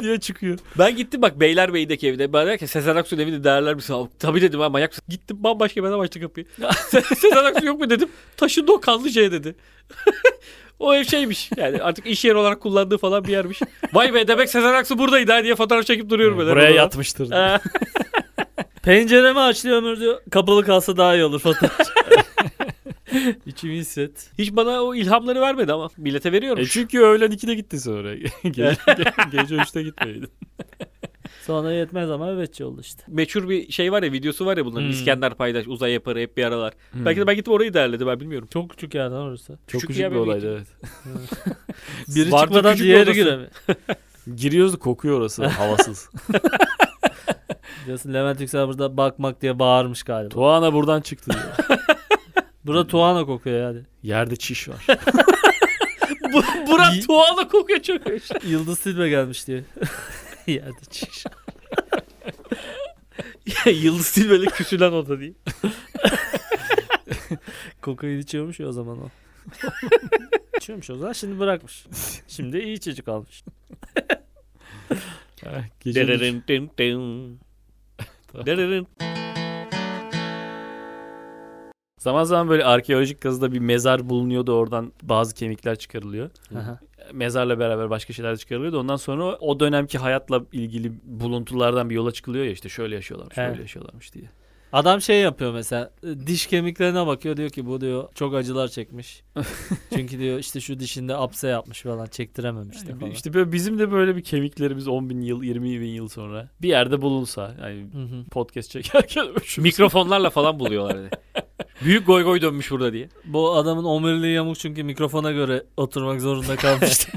Speaker 2: diye çıkıyor.
Speaker 1: Ben gittim bak Beylerbeyi'deki evde. Ben derken Sezen Aksu'nun evinde derler misin? Abi, Tabii dedim ha manyak mısın? Gittim bambaşka bir adam açtı kapıyı. Se- Sezen Aksu yok mu dedim. Taşındı o kanlı şey dedi. o ev şeymiş. Yani artık iş yeri olarak kullandığı falan bir yermiş. Vay be demek Sezen Aksu buradaydı ha diye fotoğraf çekip duruyorum. böyle.
Speaker 2: Buraya yatmıştır.
Speaker 1: Ha.
Speaker 3: Penceremi açtı ömür diyor. Kapalı kalsa daha iyi olur fotoğraf. İçimi hisset.
Speaker 1: Hiç bana o ilhamları vermedi ama millete veriyorum.
Speaker 2: E çünkü öğlen 2'de gittin sonra. gece, gece 3'te gitmeydin.
Speaker 3: Sonra yetmez ama evetçi oldu işte.
Speaker 1: Meçhur bir şey var ya videosu var ya bunların
Speaker 2: Hmm.
Speaker 1: İskender paydaş uzay yaparı hep bir aralar.
Speaker 2: Hmm.
Speaker 1: Belki de ben gittim orayı derledim ben bilmiyorum.
Speaker 3: Çok küçük yerden orası.
Speaker 2: Çok
Speaker 1: küçük
Speaker 2: küçük
Speaker 1: ya
Speaker 2: bir
Speaker 1: benim
Speaker 2: olaydı evet.
Speaker 3: Biri
Speaker 1: Vardı
Speaker 3: çıkmadan
Speaker 1: küçük
Speaker 3: diğeri
Speaker 1: odası.
Speaker 3: güre mi?
Speaker 2: Giriyoruz kokuyor orası havasız.
Speaker 3: Diyorsun Levent Yüksel burada bakmak diye bağırmış galiba.
Speaker 2: Tuana buradan çıktı diyor.
Speaker 3: Burada Tuana kokuyor yani.
Speaker 2: Yerde çiş var.
Speaker 1: Bu- Burak tuğala kokuyor çok.
Speaker 3: Yıldız Tilbe gelmiş diye. Yerde çiş.
Speaker 1: Yıldız Tilbe'yle küsülen oda değil.
Speaker 3: Kokain içiyormuş ya o zaman o. içiyormuş o zaman şimdi bırakmış. Şimdi iyi çocuk almış.
Speaker 2: Ha, Gece bir-
Speaker 1: Dererin din din. Dererin.
Speaker 2: Zaman zaman böyle arkeolojik kazıda bir mezar bulunuyordu oradan bazı kemikler çıkarılıyor.
Speaker 3: Aha.
Speaker 2: Mezarla beraber başka şeyler de çıkarılıyordu. Ondan sonra o dönemki hayatla ilgili buluntulardan bir yola çıkılıyor ya işte şöyle yaşıyorlarmış,
Speaker 3: Evet.
Speaker 2: böyle yaşıyorlarmış diye.
Speaker 3: Adam şey yapıyor mesela e, diş kemiklerine bakıyor diyor ki bu diyor çok acılar çekmiş. Çünkü diyor işte şu dişinde apse yapmış falan çektirememiş de falan.
Speaker 2: İşte Ee, böyle bizim de böyle bir kemiklerimiz 10 bin yıl, 20 bin yıl sonra bir yerde bulunsa. Yani
Speaker 3: Hı hı.
Speaker 2: podcast çekerken şu
Speaker 1: Mikrofonlarla falan buluyorlar. dedi. Büyük goy goy dönmüş burada diye.
Speaker 3: Bu adamın omuriliği yamuk çünkü mikrofona göre oturmak zorunda kalmıştı.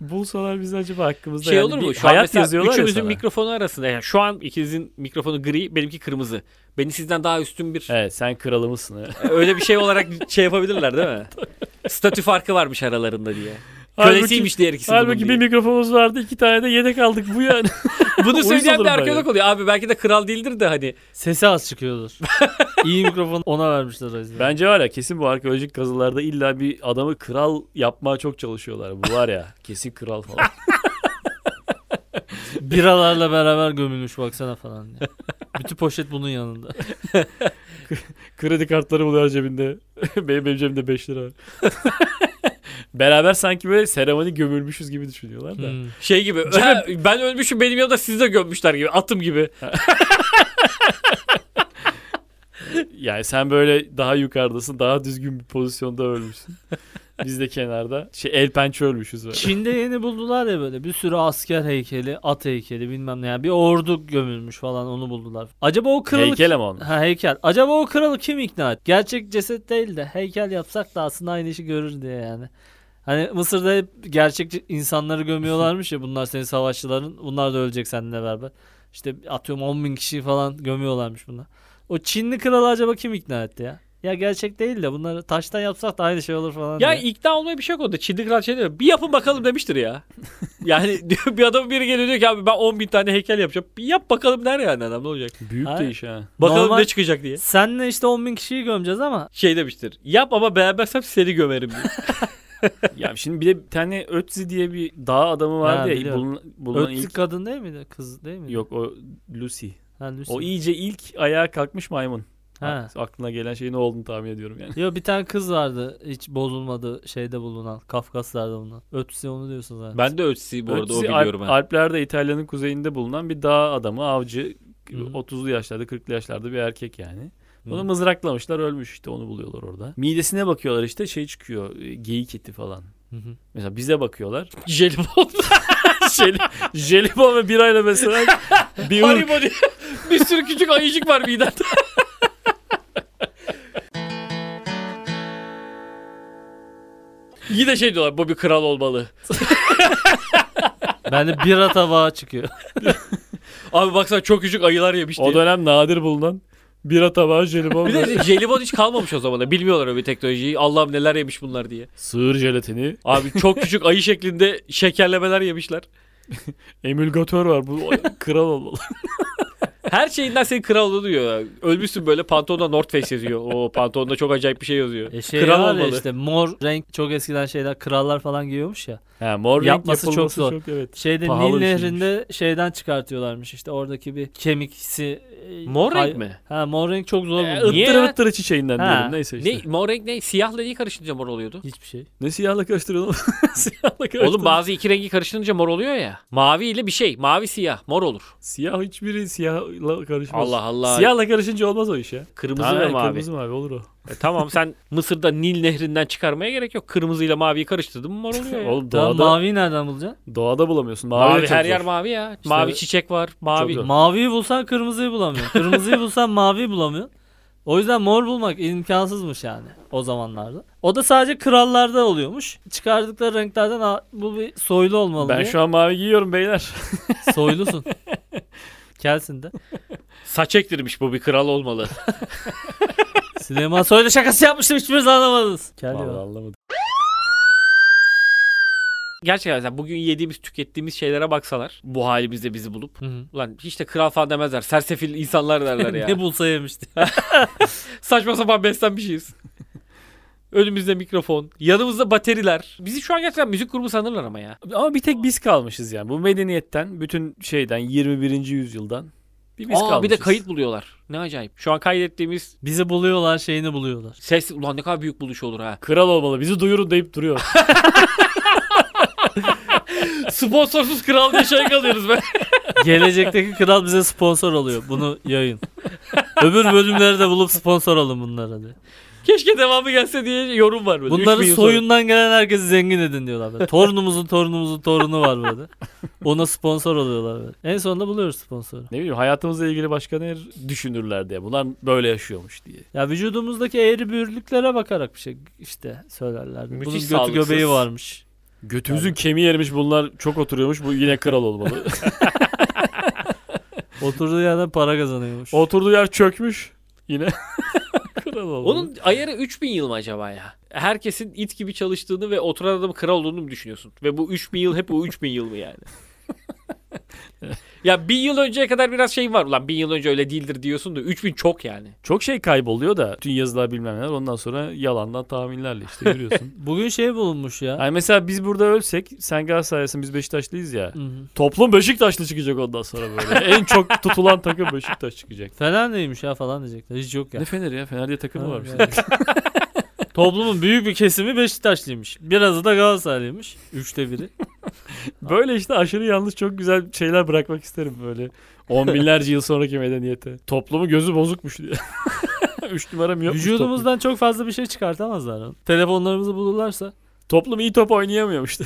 Speaker 2: bulsalar biz acaba hakkımızda
Speaker 1: Şey
Speaker 2: yani
Speaker 1: olur
Speaker 2: bir
Speaker 1: mu? Şu an
Speaker 2: hayat
Speaker 1: mesela
Speaker 2: yazıyorlar ya
Speaker 1: üçümüzün
Speaker 2: sana.
Speaker 1: mikrofonu arasında. Yani şu an ikinizin mikrofonu gri, benimki kırmızı. Beni sizden daha üstün bir
Speaker 2: Evet sen kralımızsın. evet.
Speaker 1: öyle bir şey olarak şey yapabilirler değil mi? Statü farkı varmış aralarında diye.
Speaker 2: Halbuki-
Speaker 1: Kölesiymiş diğer ikisi bunun
Speaker 2: Halbuki
Speaker 1: diye.
Speaker 2: bir mikrofonumuz vardı iki tane de yedek aldık bu yani.
Speaker 1: Bunu
Speaker 2: Uyuz
Speaker 1: söyleyen bir
Speaker 2: olurum ben ya.
Speaker 1: arkeolog oluyor. Abi belki de kral değildir de hani.
Speaker 3: Sesi az çıkıyordur. İyi mikrofon ona vermişler o yüzden.
Speaker 2: Bence var ya kesin bu arkeolojik kazılarda illa bir adamı kral yapmaya çok çalışıyorlar. Bu var ya kesin kral falan.
Speaker 3: Biralarla beraber gömülmüş baksana falan. diye. Bütün poşet bunun yanında.
Speaker 2: Kredi kartları buluyor cebinde. benim, benim cebimde 5 lira var. Beraber sanki böyle seramoni gömülmüşüz gibi düşünüyorlar da.
Speaker 3: Hmm.
Speaker 1: Şey gibi. "Ha, ben ölmüşüm benim yanımda sizi de gömmüşler gibi. Atım gibi.
Speaker 2: Yani sen böyle daha yukarıdasın. Daha düzgün bir pozisyonda ölmüşsün. Biz de kenarda şey el pençe ölmüşüz böyle.
Speaker 3: Çin'de yeni buldular ya böyle bir sürü asker heykeli, at heykeli bilmem ne. Yani bir ordu gömülmüş falan onu buldular. Acaba o kralı...
Speaker 2: Heykel ama onlar.
Speaker 3: Ha heykel. Acaba o kralı kim ikna etti? Gerçek ceset değil de heykel yapsak da aslında aynı işi görür diye yani. Hani Mısır'da hep gerçek insanları gömüyorlarmış ya bunlar senin savaşçıların. Bunlar da ölecek seninle beraber. İşte atıyorum 10 bin kişiyi falan gömüyorlarmış bunlar. O Çinli kralı acaba kim ikna etti ya? Ya gerçek değil de bunları taştan yapsak da aynı şey olur falan.
Speaker 1: Ya
Speaker 3: diye.
Speaker 1: ikna olmaya bir şey yok orada. Çinli kral şey demiyor. Bir yapın bakalım demiştir ya. yani diyor, bir adam biri geliyor diyor ki abi ben 10 bin tane heykel yapacağım. Bir yap bakalım der yani adam ne olacak.
Speaker 2: Büyük
Speaker 3: Hayır.
Speaker 2: de iş ha.
Speaker 1: Bakalım
Speaker 3: Normal-
Speaker 1: ne çıkacak diye.
Speaker 3: Senle işte 10 bin kişiyi gömeceğiz ama
Speaker 1: Şey demiştir. Yap ama beğenmezsem seni gömerim diye.
Speaker 2: Ya şimdi bir de bir tane Ötzi diye bir dağ adamı
Speaker 3: Ha,
Speaker 2: vardı ya.
Speaker 3: biliyorum.
Speaker 2: Bulun, bulunan
Speaker 3: ötlü
Speaker 2: ilk...
Speaker 3: kadın değil miydi? Kız değil miydi?
Speaker 2: Yok o Lucy.
Speaker 3: Ha, Lucy.
Speaker 2: O iyice ilk ayağa kalkmış maymun.
Speaker 3: Ha.
Speaker 2: Aklına gelen şeyin ne olduğunu tahmin ediyorum yani.
Speaker 3: Yo bir tane kız vardı hiç bozulmadı şeyde bulunan Kafkaslarda bulunan. Ötüsü onu diyorsun zaten.
Speaker 1: ben de ölçüsü bu arada o
Speaker 2: Ötesi
Speaker 1: biliyorum
Speaker 2: Alp-
Speaker 1: ben.
Speaker 2: Alplerde İtalya'nın kuzeyinde bulunan bir dağ adamı, avcı.
Speaker 3: Hı.
Speaker 2: 30'lu yaşlarda, 40'lı yaşlarda bir erkek yani. Onu
Speaker 3: Hı.
Speaker 2: mızraklamışlar ölmüş işte onu buluyorlar orada. Midesine bakıyorlar işte şey çıkıyor e, geyik eti falan.
Speaker 3: Hı hı.
Speaker 2: Mesela bize bakıyorlar.
Speaker 1: Jelibon.
Speaker 2: Jel- Jelibon ve birayla mesela bir ırk.
Speaker 1: Haribo diye. bir sürü küçük ayıcık var midende. Yine şey diyorlar bu bir kral olmalı.
Speaker 3: ben de bira tabağı çıkıyor.
Speaker 1: Abi baksana çok küçük ayılar yemiş diye.
Speaker 2: O dönem nadir bulunan bira tabağı jelibon
Speaker 1: Bir
Speaker 2: ve
Speaker 1: de jelibon hiç kalmamış o zaman da. Bilmiyorlar öyle bir teknolojiyi. Allah'ım neler yemiş bunlar diye.
Speaker 2: sığır jelatini.
Speaker 1: Abi çok küçük ayı şeklinde şekerlemeler yemişler.
Speaker 2: Emülgatör var bu kral olmalı.
Speaker 1: Her şeyinden seni kral olduğunu diyor. ya. Ölmüşsün böyle pantolonda North Face yazıyor. O pantolonda çok acayip bir şey yazıyor.
Speaker 3: E şey
Speaker 1: kral
Speaker 3: var ya
Speaker 1: olmalı.
Speaker 3: işte mor renk çok eskiden şeyler krallar falan giyiyormuş ya.
Speaker 2: Ha, mor renk
Speaker 3: Yapması çok
Speaker 2: yapılması
Speaker 3: zor.
Speaker 2: evet.
Speaker 3: Şeyde
Speaker 2: Pahalı
Speaker 3: Nil
Speaker 2: bir şeymiş.
Speaker 3: Nehri'nde şeyden çıkartıyorlarmış işte oradaki bir kemiksi. e,
Speaker 1: Mor
Speaker 3: hay-
Speaker 1: renk mi?
Speaker 3: Ha mor renk çok zor.
Speaker 1: E,
Speaker 3: bulmuş.
Speaker 1: Niye
Speaker 2: Ittırı
Speaker 1: ya?
Speaker 2: ıttırı çiçeğinden
Speaker 3: Ha.
Speaker 2: diyelim neyse işte.
Speaker 1: Ne mor renk ne? Siyahla niye karıştırınca mor oluyordu?
Speaker 3: Hiçbir şey.
Speaker 2: Ne siyahla karıştırıyorsun oğlum? siyahla karıştırıyorsun.
Speaker 1: Oğlum bazı iki rengi karıştırınca mor oluyor ya. Mavi ile bir şey. Mavi siyah. Mor olur.
Speaker 2: Siyah hiçbiri siyahla karışmaz.
Speaker 1: Allah Allah.
Speaker 2: Siyahla karışınca olmaz o iş ya.
Speaker 1: Kırmızı
Speaker 2: Ha,
Speaker 1: ve mavi.
Speaker 2: Kırmızı mavi olur o.
Speaker 1: E, tamam sen Mısır'da Nil nehrinden çıkarmaya gerek yok. Kırmızıyla maviyi karıştırdın mı mor oluyor ya.
Speaker 2: Oğlum
Speaker 3: Tamam
Speaker 2: doğada,
Speaker 3: maviyi nereden bulacaksın?
Speaker 2: doğada bulamıyorsun. Mavi,
Speaker 1: mavi
Speaker 2: de çok
Speaker 1: her
Speaker 2: zor.
Speaker 1: yer mavi ya. mavi çiçek var. Mavi.
Speaker 2: zor.
Speaker 3: Maviyi bulsan kırmızıyı bulamıyorsun. Kırmızıyı bulsan maviyi bulamıyorsun. O yüzden mor bulmak imkansızmış yani o zamanlarda. O da sadece krallarda oluyormuş. Çıkardıkları renklerden "Aa, bu bir soylu olmalı
Speaker 2: Ben
Speaker 3: diye.
Speaker 2: şu an mavi giyiyorum beyler.
Speaker 3: Soylusun. Kelsin de.
Speaker 1: Saç ektirmiş bu bir kral olmalı.
Speaker 3: Süleyman Soylu şakası yapmıştım hiçbiriniz anlamadınız. Kel ya.
Speaker 2: Vallahi anlamadım.
Speaker 1: Gerçekten sen bugün yediğimiz tükettiğimiz şeylere baksalar bu halimizde bizi bulup.
Speaker 3: Hı hı.
Speaker 1: Lan hiç de kral falan demezler. Sersefil insanlar derler ya.
Speaker 3: ne bulsa yemişti.
Speaker 1: Saçma sapan beslenmişiz. Önümüzde mikrofon. Yanımızda bateriler. Bizi şu an gerçekten müzik grubu sanırlar ama ya.
Speaker 2: Ama bir tek biz kalmışız yani. Bu medeniyetten, bütün şeyden, 21. yüzyıldan bir biz
Speaker 1: Aa,
Speaker 2: kalmışız.
Speaker 1: bir de kayıt buluyorlar. Ne acayip. Şu an kaydettiğimiz
Speaker 3: Bizi buluyorlar şeyini buluyorlar.
Speaker 1: ses. Ulan ne kadar büyük buluş olur ha.
Speaker 2: Kral olmalı. Bizi duyurun deyip duruyor.
Speaker 1: Sponsorsuz kral diye şey kalıyoruz be.
Speaker 3: Gelecekteki kral bize sponsor oluyor. Bunu yayın. Öbür bölümleri de bulup sponsor olun bunlara diye.
Speaker 1: Keşke devamı gelse diye yorum var böyle. Üç
Speaker 3: Bunların
Speaker 1: bin yıl
Speaker 3: soyundan gelen herkesi zengin edin diyorlar. Böyle. Torunumuzun torunumuzun torunu var böyle. Ona sponsor oluyorlar böyle. En sonunda buluyoruz sponsoru.
Speaker 2: ne bileyim hayatımızla ilgili başka ne düşünürler diye. Bunlar böyle yaşıyormuş diye.
Speaker 3: Ya vücudumuzdaki eğri büğürlüklere bakarak bir şey işte söylerler. Bunun
Speaker 1: Müthiş
Speaker 3: götü
Speaker 1: sağlıksız.
Speaker 3: göbeği varmış.
Speaker 2: Götümüzün kemiği erimiş bunlar çok oturuyormuş. Bu yine kral olmalı.
Speaker 3: Oturduğu yerden para kazanıyormuş.
Speaker 2: Oturduğu yer çökmüş. Yine kral
Speaker 1: sonra.
Speaker 2: olmalı.
Speaker 1: Onun ayarı 3000 yıl mı acaba ya? Herkesin it gibi çalıştığını ve oturan adamın kral olduğunu mu düşünüyorsun? Ve bu 3000 yıl hep o 3000 yıl mı yani? ya bin yıl önceye kadar biraz şey var. Ulan bin yıl önce öyle değildir diyorsun da 3000 çok yani.
Speaker 2: Çok şey kayboluyor da bütün yazılar bilmem neler ondan sonra yalandan tahminlerle işte görüyorsun.
Speaker 3: Bugün şey bulunmuş ya.
Speaker 2: yani mesela biz burada ölsek sen Galatasaraylısın biz Beşiktaşlıyız ya.
Speaker 3: Hı hı.
Speaker 2: Toplum Beşiktaşlı çıkacak ondan sonra böyle. en çok tutulan takım Beşiktaş çıkacak.
Speaker 3: Fener neymiş ya falan diyecekler. Hiç yok ya.
Speaker 2: Ne Fener ya Fener diye takımı varmış.
Speaker 3: Toplumun büyük bir kesimi Beşiktaşlıymış. Birazı da Galatasaraylıymış. Üçte biri.
Speaker 2: Böyle işte aşırı yalnız çok güzel şeyler bırakmak isterim böyle. On binlerce yıl sonraki medeniyete. Toplumu gözü bozukmuş diye. Üç numaram yokmuş toplum.
Speaker 3: Vücudumuzdan çok fazla bir şey çıkartamazlar. onu. Telefonlarımızı bulurlarsa
Speaker 2: Toplum iyi top oynayamıyormuş.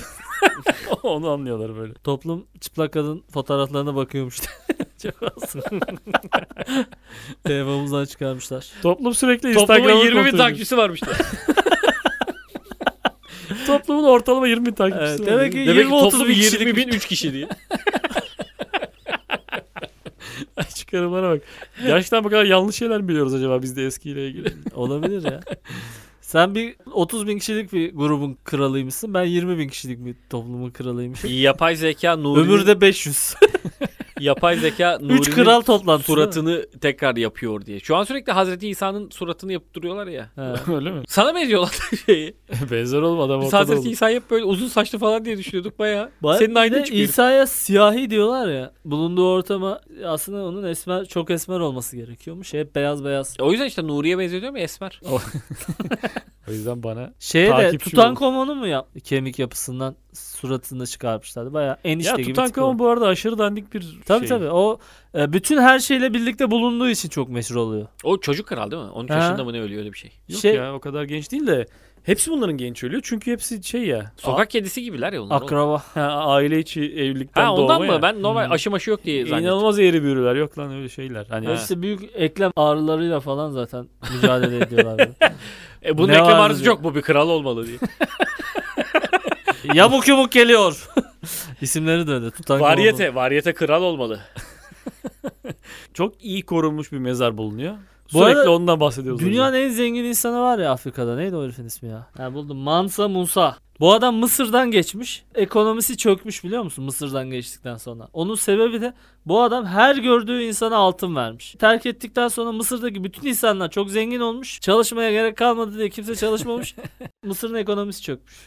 Speaker 2: Onu anlıyorlar böyle.
Speaker 3: toplum çıplak kadın fotoğraflarına bakıyormuş. çok az. Telefonumuzdan çıkarmışlar.
Speaker 2: Toplum sürekli Instagram'ı
Speaker 1: Toplumun 20 bin
Speaker 2: kontrol ediyor.
Speaker 1: takipçisi varmış. da.
Speaker 2: Toplumun ortalama 20 bin takipçisi
Speaker 3: Evet,
Speaker 2: var.
Speaker 3: demek ki
Speaker 2: değil mi?
Speaker 1: Demek ki
Speaker 3: 20-30
Speaker 1: toplumun
Speaker 3: bin
Speaker 1: 20
Speaker 3: kişilik
Speaker 1: bin şey. 3 kişi diye.
Speaker 2: çıkarımlara bak. Gerçekten bu kadar yanlış şeyler mi biliyoruz acaba biz de eskiyle ilgili?
Speaker 3: olabilir ya. Sen bir 30 bin kişilik bir grubun kralıymışsın. Ben 20 bin kişilik bir toplumun kralıymışım.
Speaker 1: Yapay zeka Nuri'nin,
Speaker 3: Ömürde 500.
Speaker 1: yapay zeka Nuri'nin
Speaker 3: 3 kral toplantısı.
Speaker 1: suratını tekrar yapıyor diye. Şu an sürekli Hazreti İsa'nın suratını yapıp duruyorlar ya.
Speaker 3: Ha.
Speaker 2: Öyle mi?
Speaker 1: Sana benziyorlar şeyi.
Speaker 2: Benzer oğlum adam
Speaker 1: Biz
Speaker 2: ortada
Speaker 1: Hazreti
Speaker 2: oğlum.
Speaker 1: İsa'yı hep böyle uzun saçlı falan diye düşünüyorduk bayağı.
Speaker 3: Ba-
Speaker 1: Senin
Speaker 3: bir de
Speaker 1: aynı çıkıyor.
Speaker 3: İsa'ya siyahi diyorlar ya. Bulunduğu ortama aslında onun esmer çok esmer olması gerekiyormuş. Hep beyaz beyaz.
Speaker 1: O yüzden işte Nuri'ye benziyor diyorum ya Esmer.
Speaker 2: O yüzden bana...
Speaker 3: Şeye de
Speaker 2: Takipçi
Speaker 3: Tutankamon'u mu yap? Kemik yapısından suratını çıkarmışlardı. Baya enişte
Speaker 2: ya
Speaker 3: gibi.
Speaker 2: Tutankamon bu arada aşırı dandik bir
Speaker 3: Tabi
Speaker 2: şey.
Speaker 3: tabi o e, bütün her şeyle birlikte bulunduğu için çok meşhur oluyor.
Speaker 1: O çocuk kral değil mi? 13
Speaker 3: Ha.
Speaker 1: yaşında mı ne ölüyor öyle bir şey.
Speaker 2: Yok
Speaker 3: Şey-
Speaker 2: ya o kadar genç değil de hepsi bunların genç ölüyor. Çünkü hepsi şey ya
Speaker 1: Sokak kedisi gibiler ya onlar. oğlum.
Speaker 3: Akraba.
Speaker 2: ha, aile içi evlilikten
Speaker 1: Ha ondan
Speaker 2: doğma
Speaker 1: mı?
Speaker 2: ya.
Speaker 1: Ben normal aşı maşı yok diye zannettim.
Speaker 2: İnanılmaz eğri büğrüler. Yok lan öyle şeyler. Hani
Speaker 1: Ha.
Speaker 3: Hepsi büyük eklem ağrılarıyla falan zaten mücadele ediyorlar. böyle.
Speaker 1: E, bunun
Speaker 3: Ne
Speaker 1: reklam
Speaker 3: var
Speaker 1: arzusu
Speaker 3: diyor.
Speaker 1: yok. Bu bir kral olmalı diye.
Speaker 3: yamuk yumuk geliyor. İsimleri de öyle. Tutankamon.
Speaker 1: varyete. Varyete kral olmalı.
Speaker 2: çok iyi korunmuş bir mezar bulunuyor.
Speaker 3: Bu
Speaker 2: Sürekli
Speaker 3: arada
Speaker 2: ondan bahsediyoruz.
Speaker 3: Dünyanın en zengin insanı var ya Afrika'da. Neydi o herifin ismi ya? Ha buldum. Mansa Musa. Bu adam Mısır'dan geçmiş. Ekonomisi çökmüş biliyor musun? Mısır'dan geçtikten sonra. Onun sebebi de bu adam her gördüğü insana altın vermiş. Terk ettikten sonra Mısır'daki bütün insanlar çok zengin olmuş. Çalışmaya gerek kalmadı diye kimse çalışmamış. Mısır'ın ekonomisi çökmüş.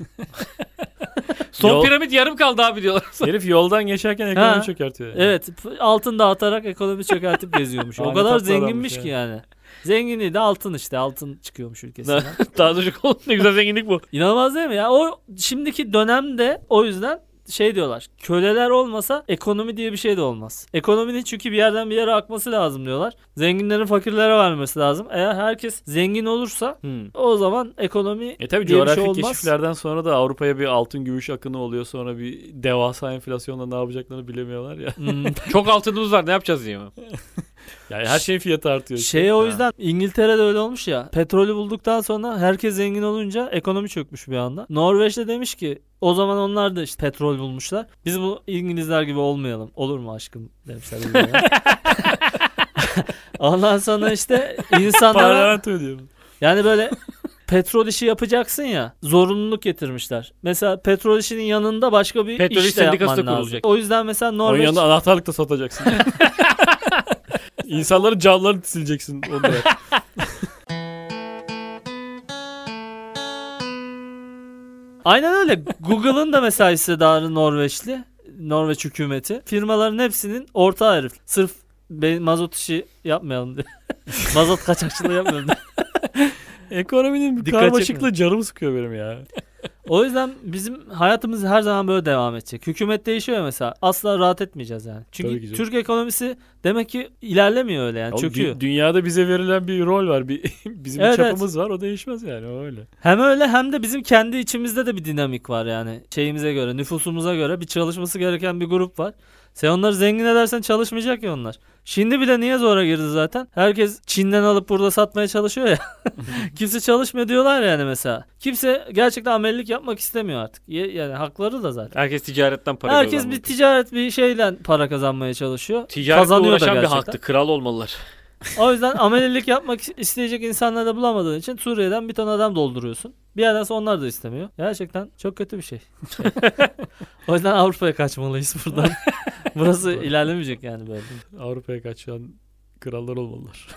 Speaker 1: Son
Speaker 2: Yol-
Speaker 1: piramit yarım kaldı abi diyorlar.
Speaker 2: Herif yoldan geçerken
Speaker 3: Ha.
Speaker 2: ekonomi çökertiyor. yani.
Speaker 3: Evet p- altın dağıtarak ekonomi çökertip geziyormuş. o
Speaker 2: Abi
Speaker 3: kadar
Speaker 2: tatlı
Speaker 3: zenginmiş
Speaker 2: adammış
Speaker 3: ki yani. Zenginliği de altın işte altın çıkıyormuş ülkesinden.
Speaker 1: Daha çocuk oldu ne güzel zenginlik bu.
Speaker 3: İnanılmaz değil mi ya? O şimdiki dönemde o yüzden şey diyorlar. Köleler olmasa ekonomi diye bir şey de olmaz. Ekonominin çünkü bir yerden bir yere akması lazım diyorlar. Zenginlerin fakirlere vermesi lazım. Eğer herkes zengin olursa o zaman ekonomi
Speaker 2: E tabi
Speaker 3: diye bir
Speaker 2: coğrafi
Speaker 3: şey olmaz.
Speaker 2: keşiflerden sonra da Avrupa'ya bir altın gümüş akını oluyor. Sonra bir devasa enflasyonla ne yapacaklarını bilemiyorlar ya.
Speaker 3: Hmm.
Speaker 1: Çok altınımız var ne yapacağız diye mi?
Speaker 2: Yani her şeyin fiyatı artıyor. işte.
Speaker 3: Şey o
Speaker 2: Ha.
Speaker 3: yüzden İngiltere'de öyle olmuş ya. Petrolü bulduktan sonra herkes zengin olunca ekonomi çökmüş bir anda. Norveç'te demiş ki o zaman onlar da işte petrol bulmuşlar. Biz bu İngilizler gibi olmayalım. Olur mu aşkım demişler. birbirlerine. Ondan sonra işte insanlara
Speaker 2: Parlamento diyorum.
Speaker 3: yani böyle petrol işi yapacaksın ya zorunluluk getirmişler. Mesela petrol işinin yanında başka bir
Speaker 1: Petrol
Speaker 3: iş
Speaker 1: İş
Speaker 3: de
Speaker 1: Sendikası
Speaker 3: yapman
Speaker 1: da
Speaker 3: lazım.
Speaker 1: kurulacak.
Speaker 3: O yüzden mesela
Speaker 2: Onun
Speaker 3: Norveç
Speaker 2: yanında anahtarlık da satacaksın. İnsanların camlarını sileceksin. Onu da yap.
Speaker 3: Aynen öyle. Google'ın da mesela hissedarı Norveçli. Norveç hükümeti. Firmaların hepsinin ortağı herif. Sırf be- mazot işi yapmayalım diye. mazot kaçakçılığı yapmayalım diye.
Speaker 2: Ekonominin
Speaker 3: Dikkat
Speaker 2: karmaşıklığı canımı sıkıyor benim ya.
Speaker 3: O yüzden bizim hayatımız her zaman böyle devam edecek. Hükümet değişiyor ya mesela. Asla rahat etmeyeceğiz yani.
Speaker 2: Tabii ki
Speaker 3: Çünkü
Speaker 2: canım.
Speaker 3: Türk ekonomisi demek ki ilerlemiyor öyle yani.
Speaker 2: Oğlum,
Speaker 3: Çöküyor.
Speaker 2: dü- dünyada bize verilen bir rol var. Bir, bizim
Speaker 3: Evet,
Speaker 2: bir çapımız var. O değişmez yani. O öyle.
Speaker 3: Hem öyle hem de bizim kendi içimizde de bir dinamik var yani. Şeyimize göre, nüfusumuza göre bir çalışması gereken bir grup var. Sen onları zengin edersen çalışmayacak ya onlar. Şimdi bile niye zora girdi zaten? Herkes Çin'den alıp burada satmaya çalışıyor ya. Kimse çalışmıyor diyorlar yani mesela. Kimse gerçekten amelilik yapmak istemiyor artık. Ye- Yani hakları da zaten.
Speaker 1: Herkes ticaretten para
Speaker 3: Herkes
Speaker 1: kazanmak.
Speaker 3: bir ticaret bir şeyle para kazanmaya çalışıyor.
Speaker 1: Ticaretle
Speaker 3: Kazanıyor da
Speaker 1: uğraşan bir
Speaker 3: gerçekten.
Speaker 1: haktı. Kral olmalılar.
Speaker 3: O yüzden amelilik yapmak isteyecek insanları da bulamadığın için Suriye'den bir ton adam dolduruyorsun. Bir yerden sonra onlar da istemiyor. Gerçekten çok kötü bir şey. o yüzden Avrupa'ya kaçmalıyız buradan. Burası ilerlemeyecek yani böyle.
Speaker 2: Avrupa'ya kaçan krallar olmalılar.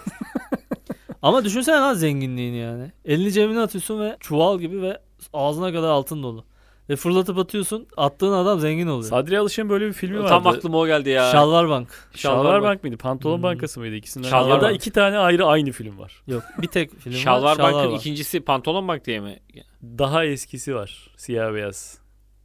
Speaker 3: Ama düşünsene lan zenginliğini yani. Elini cebine atıyorsun ve çuval gibi ve ağzına kadar altın dolu. Ve fırlatıp atıyorsun attığın adam zengin oluyor.
Speaker 2: Sadri Alış'ın böyle bir filmi vardı.
Speaker 1: Tam aklıma o geldi ya.
Speaker 3: Şalvar Bank.
Speaker 2: Şalvar
Speaker 1: Şalvar
Speaker 2: Bank mıydı? Pantolon
Speaker 3: Hmm.
Speaker 2: Bankası mıydı ikisinden?
Speaker 1: Şalvar
Speaker 2: ya da
Speaker 1: Bank.
Speaker 2: iki tane ayrı aynı film var.
Speaker 3: Yok bir tek film var.
Speaker 1: Şalvar Bank'ın
Speaker 3: Bank.
Speaker 1: ikincisi Pantolon Bank diye mi?
Speaker 2: Daha eskisi var. Siyah beyaz.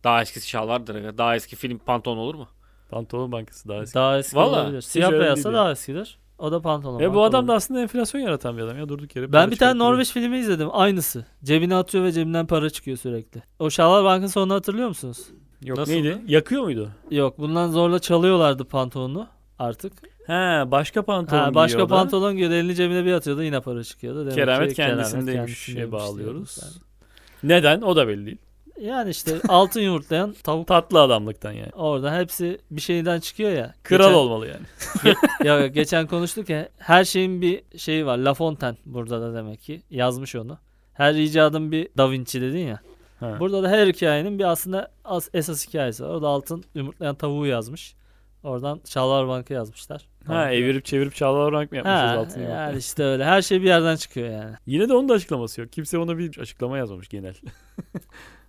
Speaker 1: Daha eskisi Şalvar'dır. aga. Daha eski film Pantolon olur mu?
Speaker 2: Pantolon Bankası daha eski.
Speaker 3: Daha eski
Speaker 1: Valla,
Speaker 3: olabilir.
Speaker 2: hiç
Speaker 3: Siyah
Speaker 2: öyle
Speaker 3: beyazsa
Speaker 2: değil
Speaker 3: daha eskidir. O da pantolon.
Speaker 2: Ve
Speaker 3: Bank
Speaker 2: E, bu adam
Speaker 3: olabilir.
Speaker 2: da aslında enflasyon yaratan bir adam ya durduk yere.
Speaker 3: Ben bir tane
Speaker 2: çıkartıyor.
Speaker 3: Norveç filmi izledim. Aynısı. Cebine atıyor ve cebinden para çıkıyor sürekli. O Şalvar Bank'ın sonunu hatırlıyor musunuz?
Speaker 2: Yok
Speaker 1: Nasıldı?
Speaker 2: neydi? Yakıyor muydu?
Speaker 3: Yok bundan zorla çalıyorlardı pantolonu artık.
Speaker 2: He başka pantolon
Speaker 3: ha, başka
Speaker 2: giyiyor da.
Speaker 3: pantolon giyiyordu elini cebine bir atıyordu yine para çıkıyordu. Demek
Speaker 2: Keramet
Speaker 3: ki
Speaker 2: kendisindeymiş
Speaker 3: kendisindeymiş
Speaker 2: şey bağlıyoruz.
Speaker 3: diyoruz
Speaker 2: Neden? O da belli değil.
Speaker 3: Yani, yani işte altın yumurtlayan tavuk
Speaker 2: Tatlı adamlıktan yani.
Speaker 3: orada hepsi bir şeyden çıkıyor ya.
Speaker 2: Kral
Speaker 3: Geçen-
Speaker 2: olmalı yani.
Speaker 3: ya ya, geçen konuştuk ya her şeyin bir şeyi var. La Fontaine burada da demek ki yazmış onu. Her icadın bir Da Vinci dedin ya.
Speaker 2: Ha.
Speaker 3: Burada da her hikayenin bir aslında as- esas hikayesi var. Orada altın yumurtlayan tavuğu yazmış. Oradan Çağlar Bank'ı yazmışlar.
Speaker 2: Ha evirip çevirip Çağlar Bank mı yapmışız
Speaker 3: Ha,
Speaker 2: altını?
Speaker 3: yani işte öyle. Her şey bir yerden çıkıyor yani.
Speaker 2: Yine de onun da açıklaması yok. Kimse ona bir açıklama yazmamış genel.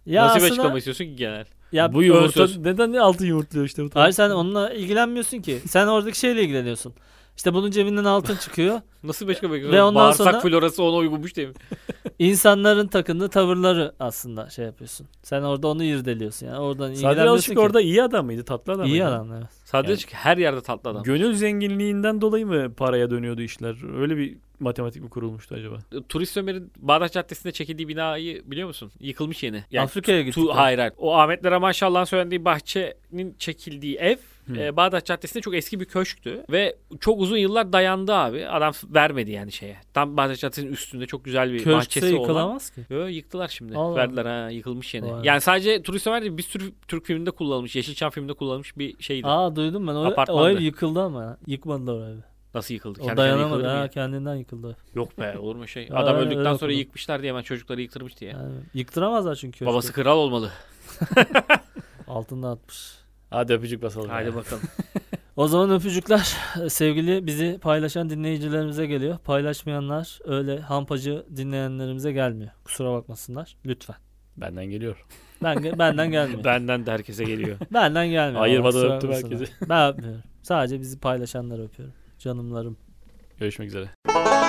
Speaker 3: Ya
Speaker 1: Nasıl bir
Speaker 3: aslında,
Speaker 1: açıklama istiyorsun ki genel?
Speaker 3: Ya
Speaker 2: bu
Speaker 3: bu
Speaker 2: yumurta
Speaker 1: örsöz.
Speaker 2: neden altı yumurtluyor işte bu tavuk?
Speaker 3: Hayır sen onunla ilgilenmiyorsun ki. Sen oradaki şeyle ilgileniyorsun. İşte bunun cebinden altın çıkıyor.
Speaker 1: Nasıl başka bir
Speaker 3: Ve ondan
Speaker 1: Bağırsak
Speaker 3: sonra-
Speaker 1: florası ona uygunmuş değil mi?
Speaker 3: İnsanların takındığı tavırları aslında şey yapıyorsun. Sen orada onu irdeliyorsun yani. Oradan
Speaker 2: Sadri
Speaker 3: ilgilenmiyorsun
Speaker 2: Alışık
Speaker 3: ki.
Speaker 2: orada iyi adam mıydı? Tatlı adam
Speaker 3: İyi
Speaker 2: mıydı?
Speaker 3: adam evet.
Speaker 1: Sadece
Speaker 2: Yani-
Speaker 1: çünkü her yerde tatlı adam.
Speaker 2: Gönül zenginliğinden dolayı mı paraya dönüyordu işler? Öyle bir matematik mi kurulmuştu acaba?
Speaker 1: Turist Ömer'in Bağdat Caddesi'nde çekildiği binayı biliyor musun? Yıkılmış yeni. Yani
Speaker 3: Afrika'ya gittik.
Speaker 1: tu, hayır hayır. O Ahmetlere maşallah söylendiği bahçenin çekildiği ev
Speaker 2: Hmm.
Speaker 1: e, Bağdat Caddesi'nde çok eski bir köşktü. Ve çok uzun yıllar dayandı abi. Adam vermedi yani şeye. Tam Bağdat Caddesi'nin üstünde çok güzel bir
Speaker 3: Köşkse
Speaker 1: bahçesi olan.
Speaker 3: yıkılamaz ki.
Speaker 1: Yo, yıktılar şimdi.
Speaker 3: Allah.
Speaker 1: Verdiler ha yıkılmış yeni.
Speaker 3: Vay.
Speaker 1: Yani sadece Turist Ömer değil bir sürü Türk filminde kullanılmış. Yeşilçam filminde kullanılmış bir şeydi.
Speaker 3: Aa duydum ben. O, o
Speaker 1: Apartmanda.
Speaker 3: ev yıkıldı ama. ya. Yıkmadılar o evi.
Speaker 1: Nasıl yıkıldı?
Speaker 3: O
Speaker 1: Kendi kendine
Speaker 3: dayanamadı
Speaker 1: yıkılır mı
Speaker 3: ha
Speaker 1: ya?
Speaker 3: kendinden yıkıldı.
Speaker 1: Yok be olur mu şey?
Speaker 3: Ha,
Speaker 1: Adam
Speaker 3: öyle-
Speaker 1: öldükten
Speaker 3: öyle
Speaker 1: sonra
Speaker 3: okudum.
Speaker 1: yıkmışlar diye hemen çocukları yıktırmış diye.
Speaker 3: Yani yıktıramazlar çünkü. köşkü.
Speaker 1: Babası kral olmalı.
Speaker 3: altında atmış.
Speaker 2: Hadi öpücük basalım.
Speaker 1: Hadi bakalım.
Speaker 3: O zaman öpücükler sevgili bizi paylaşan dinleyicilerimize geliyor. Paylaşmayanlar öyle hampacı dinleyenlerimize gelmiyor. Kusura bakmasınlar lütfen.
Speaker 2: Benden geliyor.
Speaker 3: Ben, benden gelmiyor.
Speaker 1: Benden de herkese geliyor.
Speaker 3: Benden gelmiyor.
Speaker 2: Ayırmadan
Speaker 3: Kusura
Speaker 2: öptüm
Speaker 3: bakmasınlar.
Speaker 2: herkesi.
Speaker 3: Ben öpmüyorum. Sadece bizi paylaşanları öpüyorum. Canımlarım.
Speaker 2: Görüşmek üzere.